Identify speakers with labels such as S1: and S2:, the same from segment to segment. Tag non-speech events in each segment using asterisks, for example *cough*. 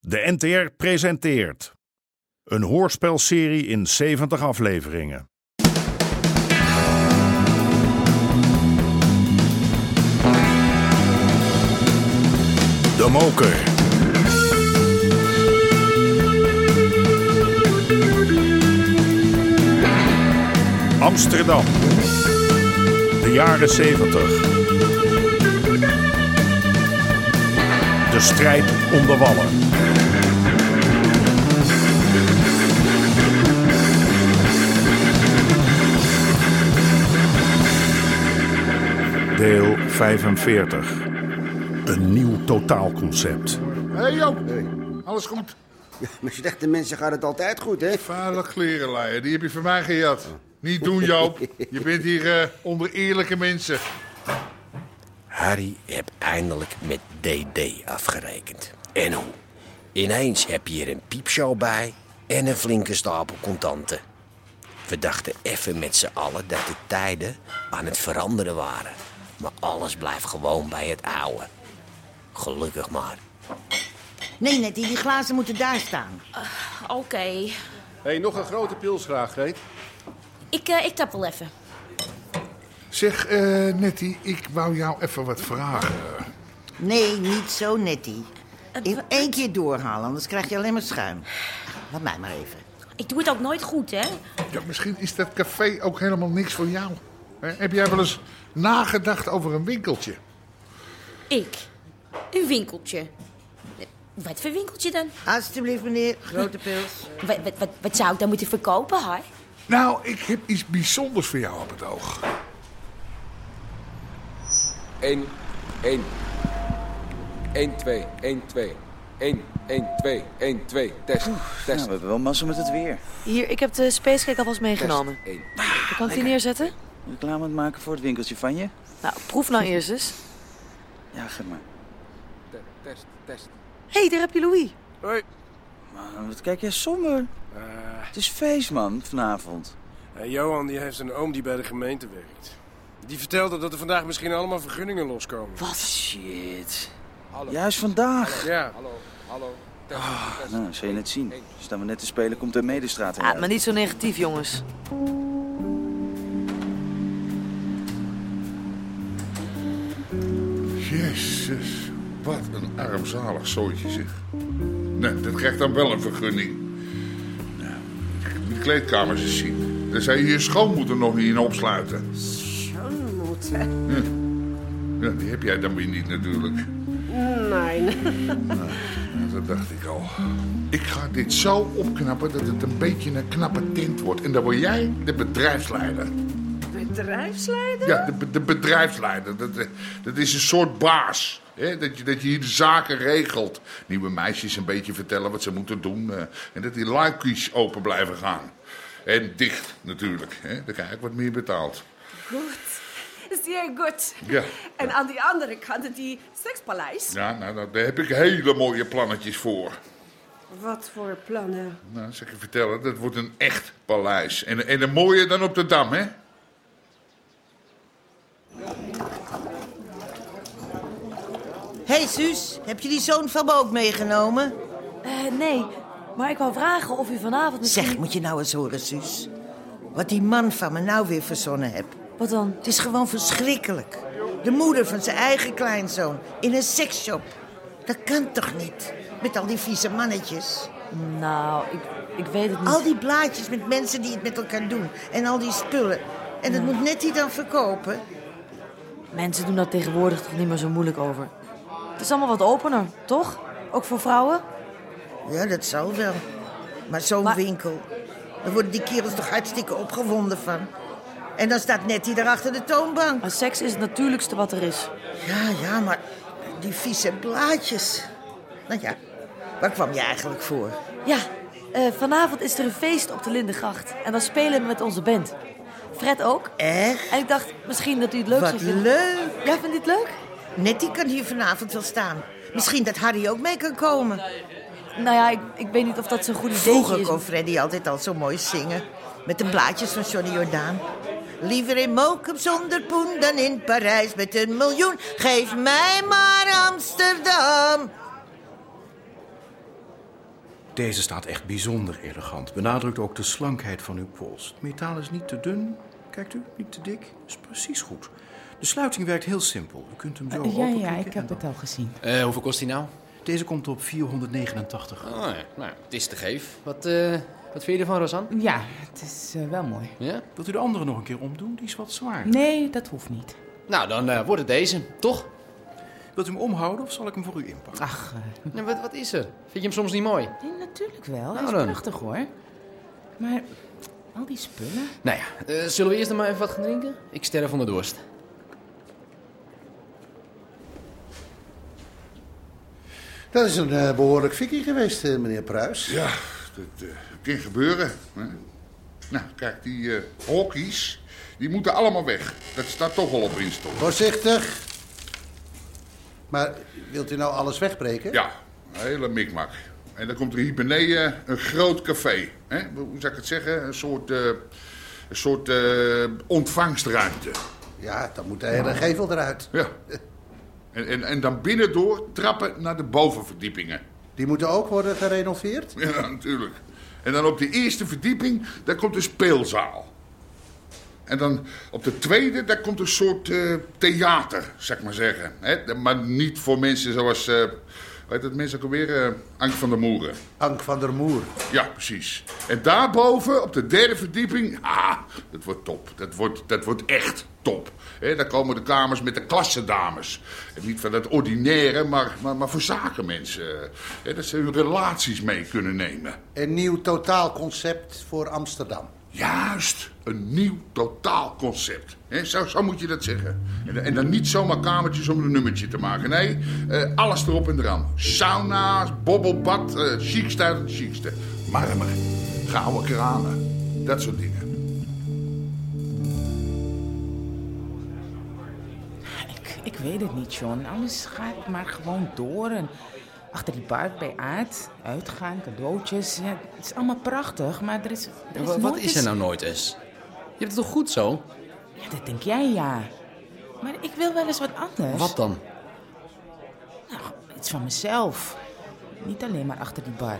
S1: De NTR presenteert een hoorspelserie in 70 afleveringen. De Moker. Amsterdam. De jaren 70. De strijd om de wallen. Deel 45. Een nieuw totaalconcept.
S2: Hé hey Joop, alles goed?
S3: Met slechte mensen gaat het altijd goed, hè?
S2: Vuile klerenlaaien, die heb je van mij gejat. Niet doen Joop, je bent hier eh, onder eerlijke mensen.
S4: Harry heb eindelijk met DD afgerekend. En hoe? Ineens heb je hier een piepshow bij en een flinke stapel contanten. We dachten even met z'n allen dat de tijden aan het veranderen waren. Maar alles blijft gewoon bij het oude. Gelukkig maar.
S5: Nee, net die, die glazen moeten daar staan.
S6: Oké,
S7: Hé, nog een grote pils graag, Greet.
S6: ik, eh, ik tap wel even.
S2: Zeg, eh Nettie, ik wou jou even wat vragen.
S5: Nee, niet zo nettie. In één keer doorhalen, anders krijg je alleen maar schuim. Laat mij maar even.
S6: Ik doe het ook nooit goed, hè?
S2: Ja, misschien is dat café ook helemaal niks voor jou. Hè, heb jij wel eens nagedacht over een winkeltje?
S6: Ik. Een winkeltje. Eh, Wat voor winkeltje dan?
S5: Alsjeblieft, meneer. Grote pils.
S6: Wat, wat, wat, wat zou ik dan moeten verkopen, Har?
S2: Nou, ik heb iets bijzonders voor jou op het oog.
S8: Eén, één, 1, 2, 1, 2. 1, 1, 2, 1, 2. Test,
S9: Nou,
S8: test,
S9: we hebben wel massa met het weer.
S10: Hier, ik heb de spacecake alvast meegenomen.
S8: test. 1.
S10: Kan ik die neerzetten?
S9: Reclame aan het maken voor het winkeltje van je?
S10: Nou, proef nou eerst eens.
S9: Ja, geef maar.
S8: Test, test.
S10: Hé, hey, daar heb je Louis.
S8: Hoi.
S9: Man, Ah, wat kijk jij somber?
S8: Eh.
S9: Het is feest, man, vanavond.
S7: Johan die heeft een oom die bij de gemeente werkt. Die vertelde dat er vandaag misschien allemaal vergunningen loskomen.
S9: Wat? Shit. Juist vandaag.
S7: Ja,
S8: Hallo, hallo. Test, test.
S9: Nou, zal je net zien. Staan we net te spelen, komt de medestraat heen.
S10: Ah, maar niet zo negatief, jongens.
S2: Jezus, wat een armzalig zooitje zeg. Nee, dat krijgt dan wel een vergunning. Nou, die kleedkamers eens zien. Dan zou je je schoonmoeder nog niet in opsluiten.
S11: Schoonmoeder?
S2: Ja, die heb jij dan weer niet natuurlijk.
S11: Nein.
S2: Ja, dat dacht ik al. Ik ga dit zo opknappen dat het een beetje een knappe tint wordt. En dan word jij de bedrijfsleider.
S11: Bedrijfsleider?
S2: Ja, de, be- de bedrijfsleider. Dat, eh, dat is een soort baas. Hè? Dat, je, dat je hier de zaken regelt. Nieuwe meisjes een beetje vertellen wat ze moeten doen. eh, en dat die luikjes open blijven gaan. En dicht natuurlijk. Hè? Dan krijg ik wat meer betaald.
S11: Gut. Sehr gut.
S2: Ja.
S11: En aan die andere kant, die sekspaleis.
S2: Ja, nou, nou, daar heb ik hele mooie plannetjes voor.
S11: Wat voor plannen?
S2: Nou, zal ik je vertellen, dat wordt een echt paleis. En, en een mooier dan op de Dam, hè?
S5: Hé, hey, Suus. Heb je die zoon van me ook meegenomen?
S10: Eh, nee, maar ik wou vragen of u vanavond misschien...
S5: Zeg, moet je nou eens horen, Suus. Wat die man van me nou weer verzonnen hebt.
S10: Wat dan?
S5: Het is gewoon verschrikkelijk. De moeder van zijn eigen kleinzoon in een seksshop. Dat kan toch niet? Met al die vieze mannetjes.
S10: Nou, ik, ik weet het niet.
S5: Al die blaadjes met mensen die het met elkaar doen. En al die spullen. En dat moet net die dan verkopen.
S10: Mensen doen daar tegenwoordig toch niet meer zo moeilijk over. Het is allemaal wat opener, toch? Ook voor vrouwen?
S5: Ja, dat zal wel. Maar zo'n
S10: Maar-
S5: winkel. Daar worden die kerels toch hartstikke opgewonden van. En dan staat Nettie daar achter de toonbank.
S10: Maar seks is het natuurlijkste wat er is.
S5: Ja, ja, maar die vieze blaadjes. Nou ja, waar kwam je eigenlijk voor?
S10: Ja, eh, vanavond is er een feest op de Lindengracht. En dan spelen we met onze band. Fred ook.
S5: Echt?
S10: En ik dacht misschien dat u het leuk
S5: Wat
S10: zou vinden.
S5: leuk.
S10: Jij vindt dit leuk?
S5: Nettie kan hier vanavond wel staan. Misschien dat Harry ook mee kan komen.
S10: Nou ja, ik, ik weet niet of dat zo'n goed idee
S5: Vroeger
S10: is.
S5: kon Freddy altijd al zo mooi zingen. Met de blaadjes van Johnny Jordaan. Liever in Mokum zonder poen dan in Parijs met een miljoen. Geef mij maar Amsterdam.
S4: Deze staat echt bijzonder elegant. Benadrukt ook de slankheid van uw pols. Het metaal is niet te dun. Kijkt u, niet te dik. Is precies goed. De sluiting werkt heel simpel. U kunt hem zo
S10: Eh, ja, ja,
S4: openklikken en
S10: ik heb
S4: dan-
S10: het al gezien.
S12: Eh, hoeveel kost die nou?
S4: Deze komt op 489.
S12: Oh, ja. nou, het is te geef. Wat, eh, wat vind je ervan, Rosanne?
S10: Ja, het is eh, wel mooi.
S12: Ja?
S4: Wilt u de andere nog een keer omdoen? Die is wat zwaar.
S10: Nee, dat hoeft niet.
S12: Nou, dan eh, wordt het deze, toch?
S4: Wilt u hem omhouden of zal ik hem voor u inpakken?
S10: Ach, eh.
S12: Nou, wat, wat is er? Vind je hem soms niet mooi?
S10: Nee, natuurlijk wel.
S12: Nou
S10: Hij is
S12: dan.
S10: prachtig hoor. Maar al die spullen.
S12: Nou ja, eh, zullen we eerst nog maar even wat gaan drinken? Ik sterf van de dorst.
S13: Dat is een eh, behoorlijk fikkie geweest, eh, meneer Pruis.
S2: Ja, dat eh, kan gebeuren. Hè? Nou, kijk, die eh, hockey's, die moeten allemaal weg. Dat staat toch al op instort.
S13: Voorzichtig. Maar wilt u nou alles wegbreken?
S2: Ja, een hele mikmak. En dan komt er hier beneden een groot café. Hè? Hoe zou ik het zeggen? Een soort, eh, een soort eh, ontvangstruimte.
S13: Ja, dan moet de hele gevel eruit.
S2: Ja. En, en, en dan binnendoor trappen naar de bovenverdiepingen. *laughs*
S13: Die moeten ook worden gerenoveerd?
S2: Ja, natuurlijk. En dan op de eerste verdieping, daar komt een speelzaal. En dan op de tweede, daar komt een soort eh, theater, zeg maar zeggen. Hè? Maar niet voor mensen zoals, eh hoe heet dat mensen ook alweer? eh, Ank van der Moeren.
S13: Ank van der Moer.
S2: Ja, precies. En daarboven, op de derde verdieping, ah, dat wordt top. Dat wordt, dat wordt echt top. Hè, daar komen de kamers met de klassendames. En niet van dat ordinaire, maar, maar, maar voor zakenmensen. Hè, dat ze hun relaties mee kunnen nemen.
S13: Een nieuw totaalconcept voor Amsterdam.
S2: Juist, een nieuw totaalconcept. Hè, zo, zo moet je dat zeggen. En, en dan niet zomaar kamertjes om een nummertje te maken. Nee, eh, alles erop en eraan. Sauna's, bobbelbad, eh chicste uit het chicste. Marmer, gouden kranen, dat soort dingen.
S10: Ik, ik weet het niet, John. Alles gaat maar gewoon door. En achter die bar bij Aard, uitgaan, cadeautjes. Ja, het is allemaal prachtig, maar er is, er
S12: Ja,
S10: is
S12: wa- wat
S10: nooit
S12: is er
S10: eens-
S12: nou nooit eens? Je hebt het toch goed zo?
S10: Ja, dat denk jij, ja. Maar ik wil wel eens wat anders.
S12: Wat dan?
S10: Iets van mezelf. Niet alleen maar achter die bar.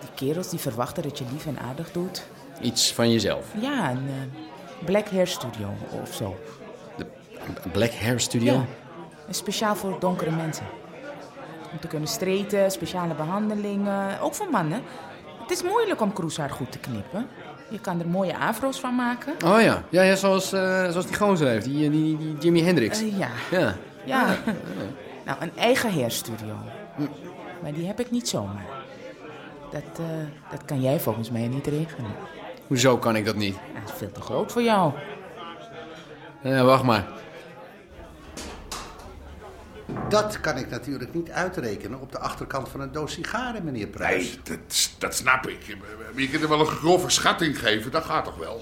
S10: Die kerels die verwachten dat je lief en aardig doet.
S12: Iets van jezelf.
S10: Ja, een eh, Black Hair Studio of zo.
S12: Een Black Hair Studio?
S10: Ja. En speciaal voor donkere mensen. Om te kunnen streten, speciale behandelingen, ook voor mannen. Het is moeilijk om kroeshaar goed te knippen. Je kan er mooie afro's van maken.
S12: Oh ja, ja, ja zoals, eh, zoals die gozer heeft, die, eh, die, die Jimi Hendrix.
S10: Eh, ja.
S12: Ja.
S10: Ja. Nou, een eigen hairstudio. Maar die heb ik niet zomaar. Dat, eh, dat kan jij volgens mij niet regelen.
S12: Hoezo kan ik dat niet?
S10: Dat is veel te groot voor jou.
S12: Ja, wacht maar.
S13: Dat kan ik natuurlijk niet uitrekenen op de achterkant van een doos sigaren, meneer Pruis.
S2: Nee, dat, dat snap ik. Maar Je kunt er wel een grove schatting geven, dat gaat toch wel?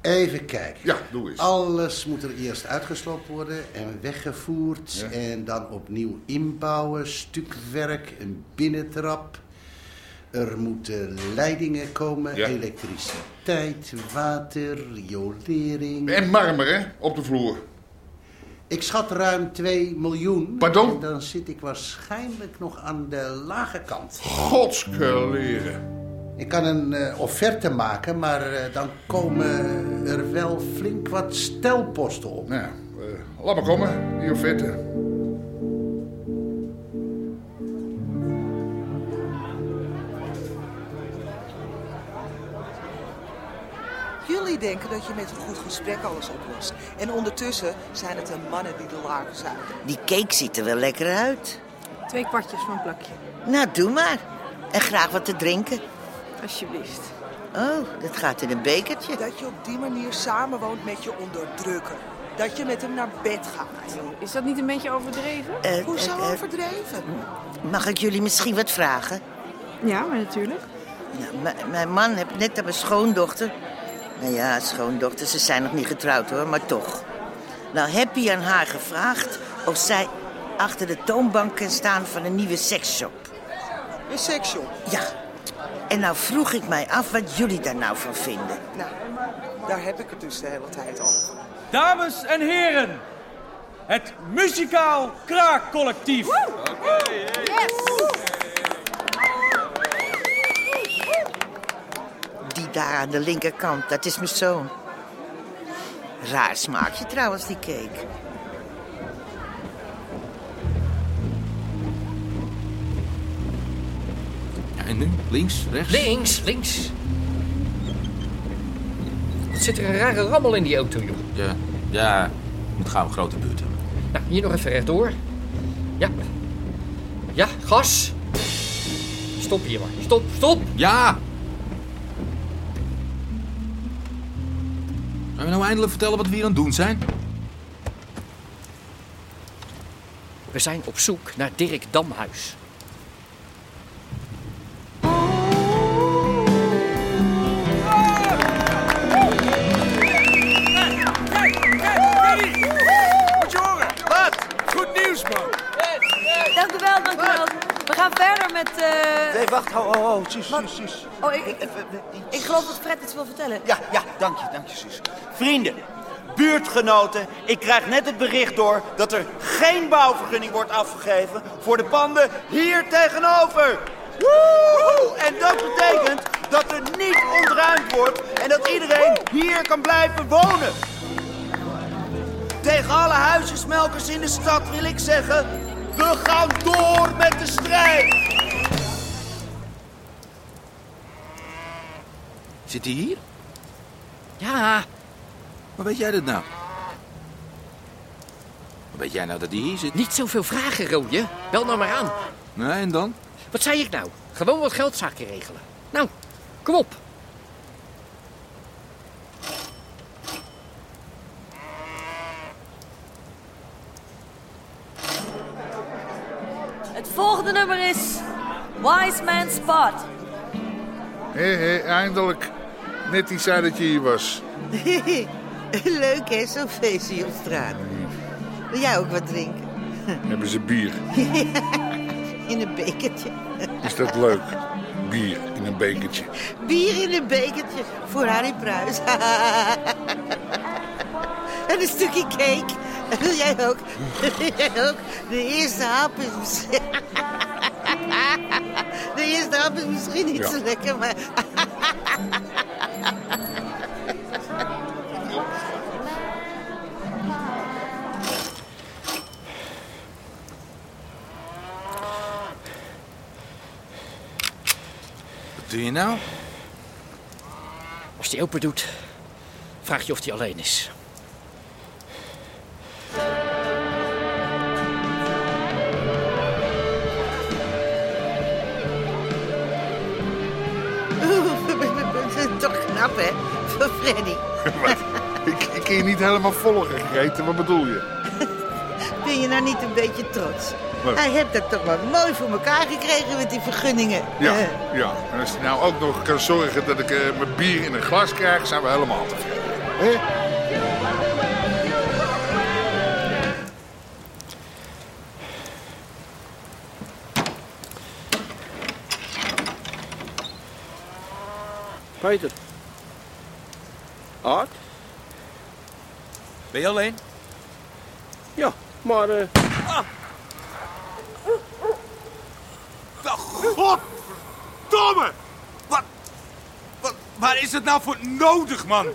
S13: Even kijken.
S2: Ja, doe eens.
S13: Alles moet er eerst uitgesloopt worden en weggevoerd. En dan opnieuw inbouwen, stukwerk, een binnentrap. Er moeten leidingen komen,
S2: Ja.
S13: elektriciteit, water, riolering.
S2: En marmer, hè, op de vloer.
S13: Ik schat ruim 2 miljoen.
S2: Pardon?
S13: En dan zit ik waarschijnlijk nog aan de lage kant.
S2: Godskeleren.
S13: Ik kan een eh, offerte maken, maar eh, dan komen er wel flink wat stelposten op.
S2: Nou, eh, laat maar komen, die offerte.
S14: Jullie denken dat je met een goed gesprek alles oplost. En ondertussen zijn het de mannen die de lakens zagen.
S5: Die cake ziet er wel lekker uit.
S15: Twee kwartjes van plakje.
S5: Nou, doe maar. En graag wat te drinken.
S15: Alsjeblieft.
S5: Oh, dat gaat in een bekertje.
S14: Dat je op die manier samenwoont met je onderdrukker. Dat je met hem naar bed gaat.
S15: Is dat niet een beetje overdreven?
S5: Eh,
S14: Hoezo
S5: eh, eh.
S14: overdreven?
S5: Mag ik jullie misschien wat vragen?
S15: Ja, maar natuurlijk.
S5: Nou, m- mijn man heeft net aan mijn schoondochter. Nou ja, schoondochter, ze zijn nog niet getrouwd hoor, maar toch. Nou, heb je aan haar gevraagd of zij achter de toonbank kan staan van een nieuwe seksshop?
S14: Een seksshop?
S5: Ja. En nou vroeg ik mij af wat jullie daar nou van vinden.
S14: Nou, daar heb ik het dus de hele tijd over.
S6: Dames en heren, het muzikaal kraakcollectief.
S14: Yes!
S5: Daar aan de linkerkant, dat is mijn zoon. Raar smaakje trouwens, die cake. *laughs*
S16: Ja, en nu? Links, rechts?
S17: Links, links. Wat zit er een rare rammel in die auto, joh.
S16: Ja, ja. Moet gaan we een grote buurt hebben.
S17: Nou, hier nog even rechtdoor. Ja. Ja, gas. Stop hier maar. Stop, stop.
S16: Ja! Gaan we nou eindelijk vertellen wat we hier aan het doen zijn?
S17: We zijn op zoek naar Dirk Damhuis.
S7: Moet je horen? Wat? Goed nieuws, man.
S10: Dank u wel, dank u wel. We gaan verder met... eh,
S18: Nee, wacht, ho, ho, ho, zus,
S10: Wat?
S18: zus, zus.
S10: Oh, ik, ik, ik geloof dat Fred iets wil vertellen.
S18: Ja, ja, dank je, dank je, zus. Vrienden, buurtgenoten, ik krijg net het bericht door dat er geen bouwvergunning wordt afgegeven voor de panden hier tegenover. Woehoe! En dat betekent dat er niet ontruimd wordt en dat iedereen hier kan blijven wonen. Tegen alle huizensmelkers in de stad wil ik zeggen, we gaan door met de strijd.
S16: Zit hij hier?
S17: Ja.
S16: Hoe weet jij dat nou? Hoe weet jij nou dat hij hier zit?
S17: Niet zoveel vragen, Rooie. Bel nou maar aan.
S16: Nee, en dan?
S17: Wat zei ik nou? Gewoon wat geldzaken regelen. Nou, kom op.
S10: Het volgende nummer is... Wise Man Spot.
S2: Hé, hé, eindelijk. Net die zei dat je hier was.
S5: Leuk hè, zo'n feestje op straat. Wil jij ook wat drinken?
S2: Hebben ze bier.
S5: in een bekertje.
S2: Is dat leuk? Bier in een bekertje.
S5: Bier in een bekertje voor Harry Pruis. *laughs* en een stukje cake. Wil jij ook? *laughs* Wil jij ook? De eerste hap is misschien... *laughs* De eerste hap is misschien niet
S2: Ja.
S5: zo lekker, maar... *laughs*
S16: Wat doe je nou?
S17: Als die open doet, vraag je of die alleen is.
S5: Toch knap, hè? Voor
S2: *laughs*
S5: Freddy.
S2: Wat? ik, ik kan je niet helemaal volgen, Greten. Wat bedoel je?
S5: Ben je nou niet een beetje trots?
S2: Wat?
S5: Hij heeft dat toch wel mooi voor elkaar gekregen met die vergunningen.
S2: Ja,
S5: Eh,
S2: ja. En als je nou ook nog kan zorgen dat ik eh, mijn bier in een glas krijg, zijn we helemaal tevreden. Hè?
S19: Peter. Art?
S16: Ben je alleen?
S19: Ja, maar... eh,
S20: Ah. Goddomme! Wat, wat, waar is het nou voor nodig, man?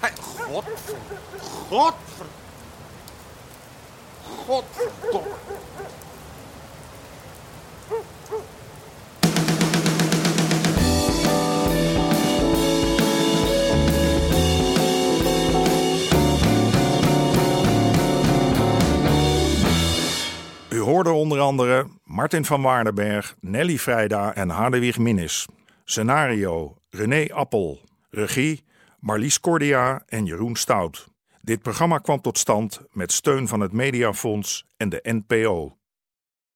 S20: Hij, God, God, Godverdomme.
S1: U hoorde onder andere Martin van Waardenberg, Nelly Vrijda en Hadewig Minnis. Scenario René Appel. Regie Marlies Cordia en Jeroen Stout. Dit programma kwam tot stand met steun van het Mediafonds en de NPO.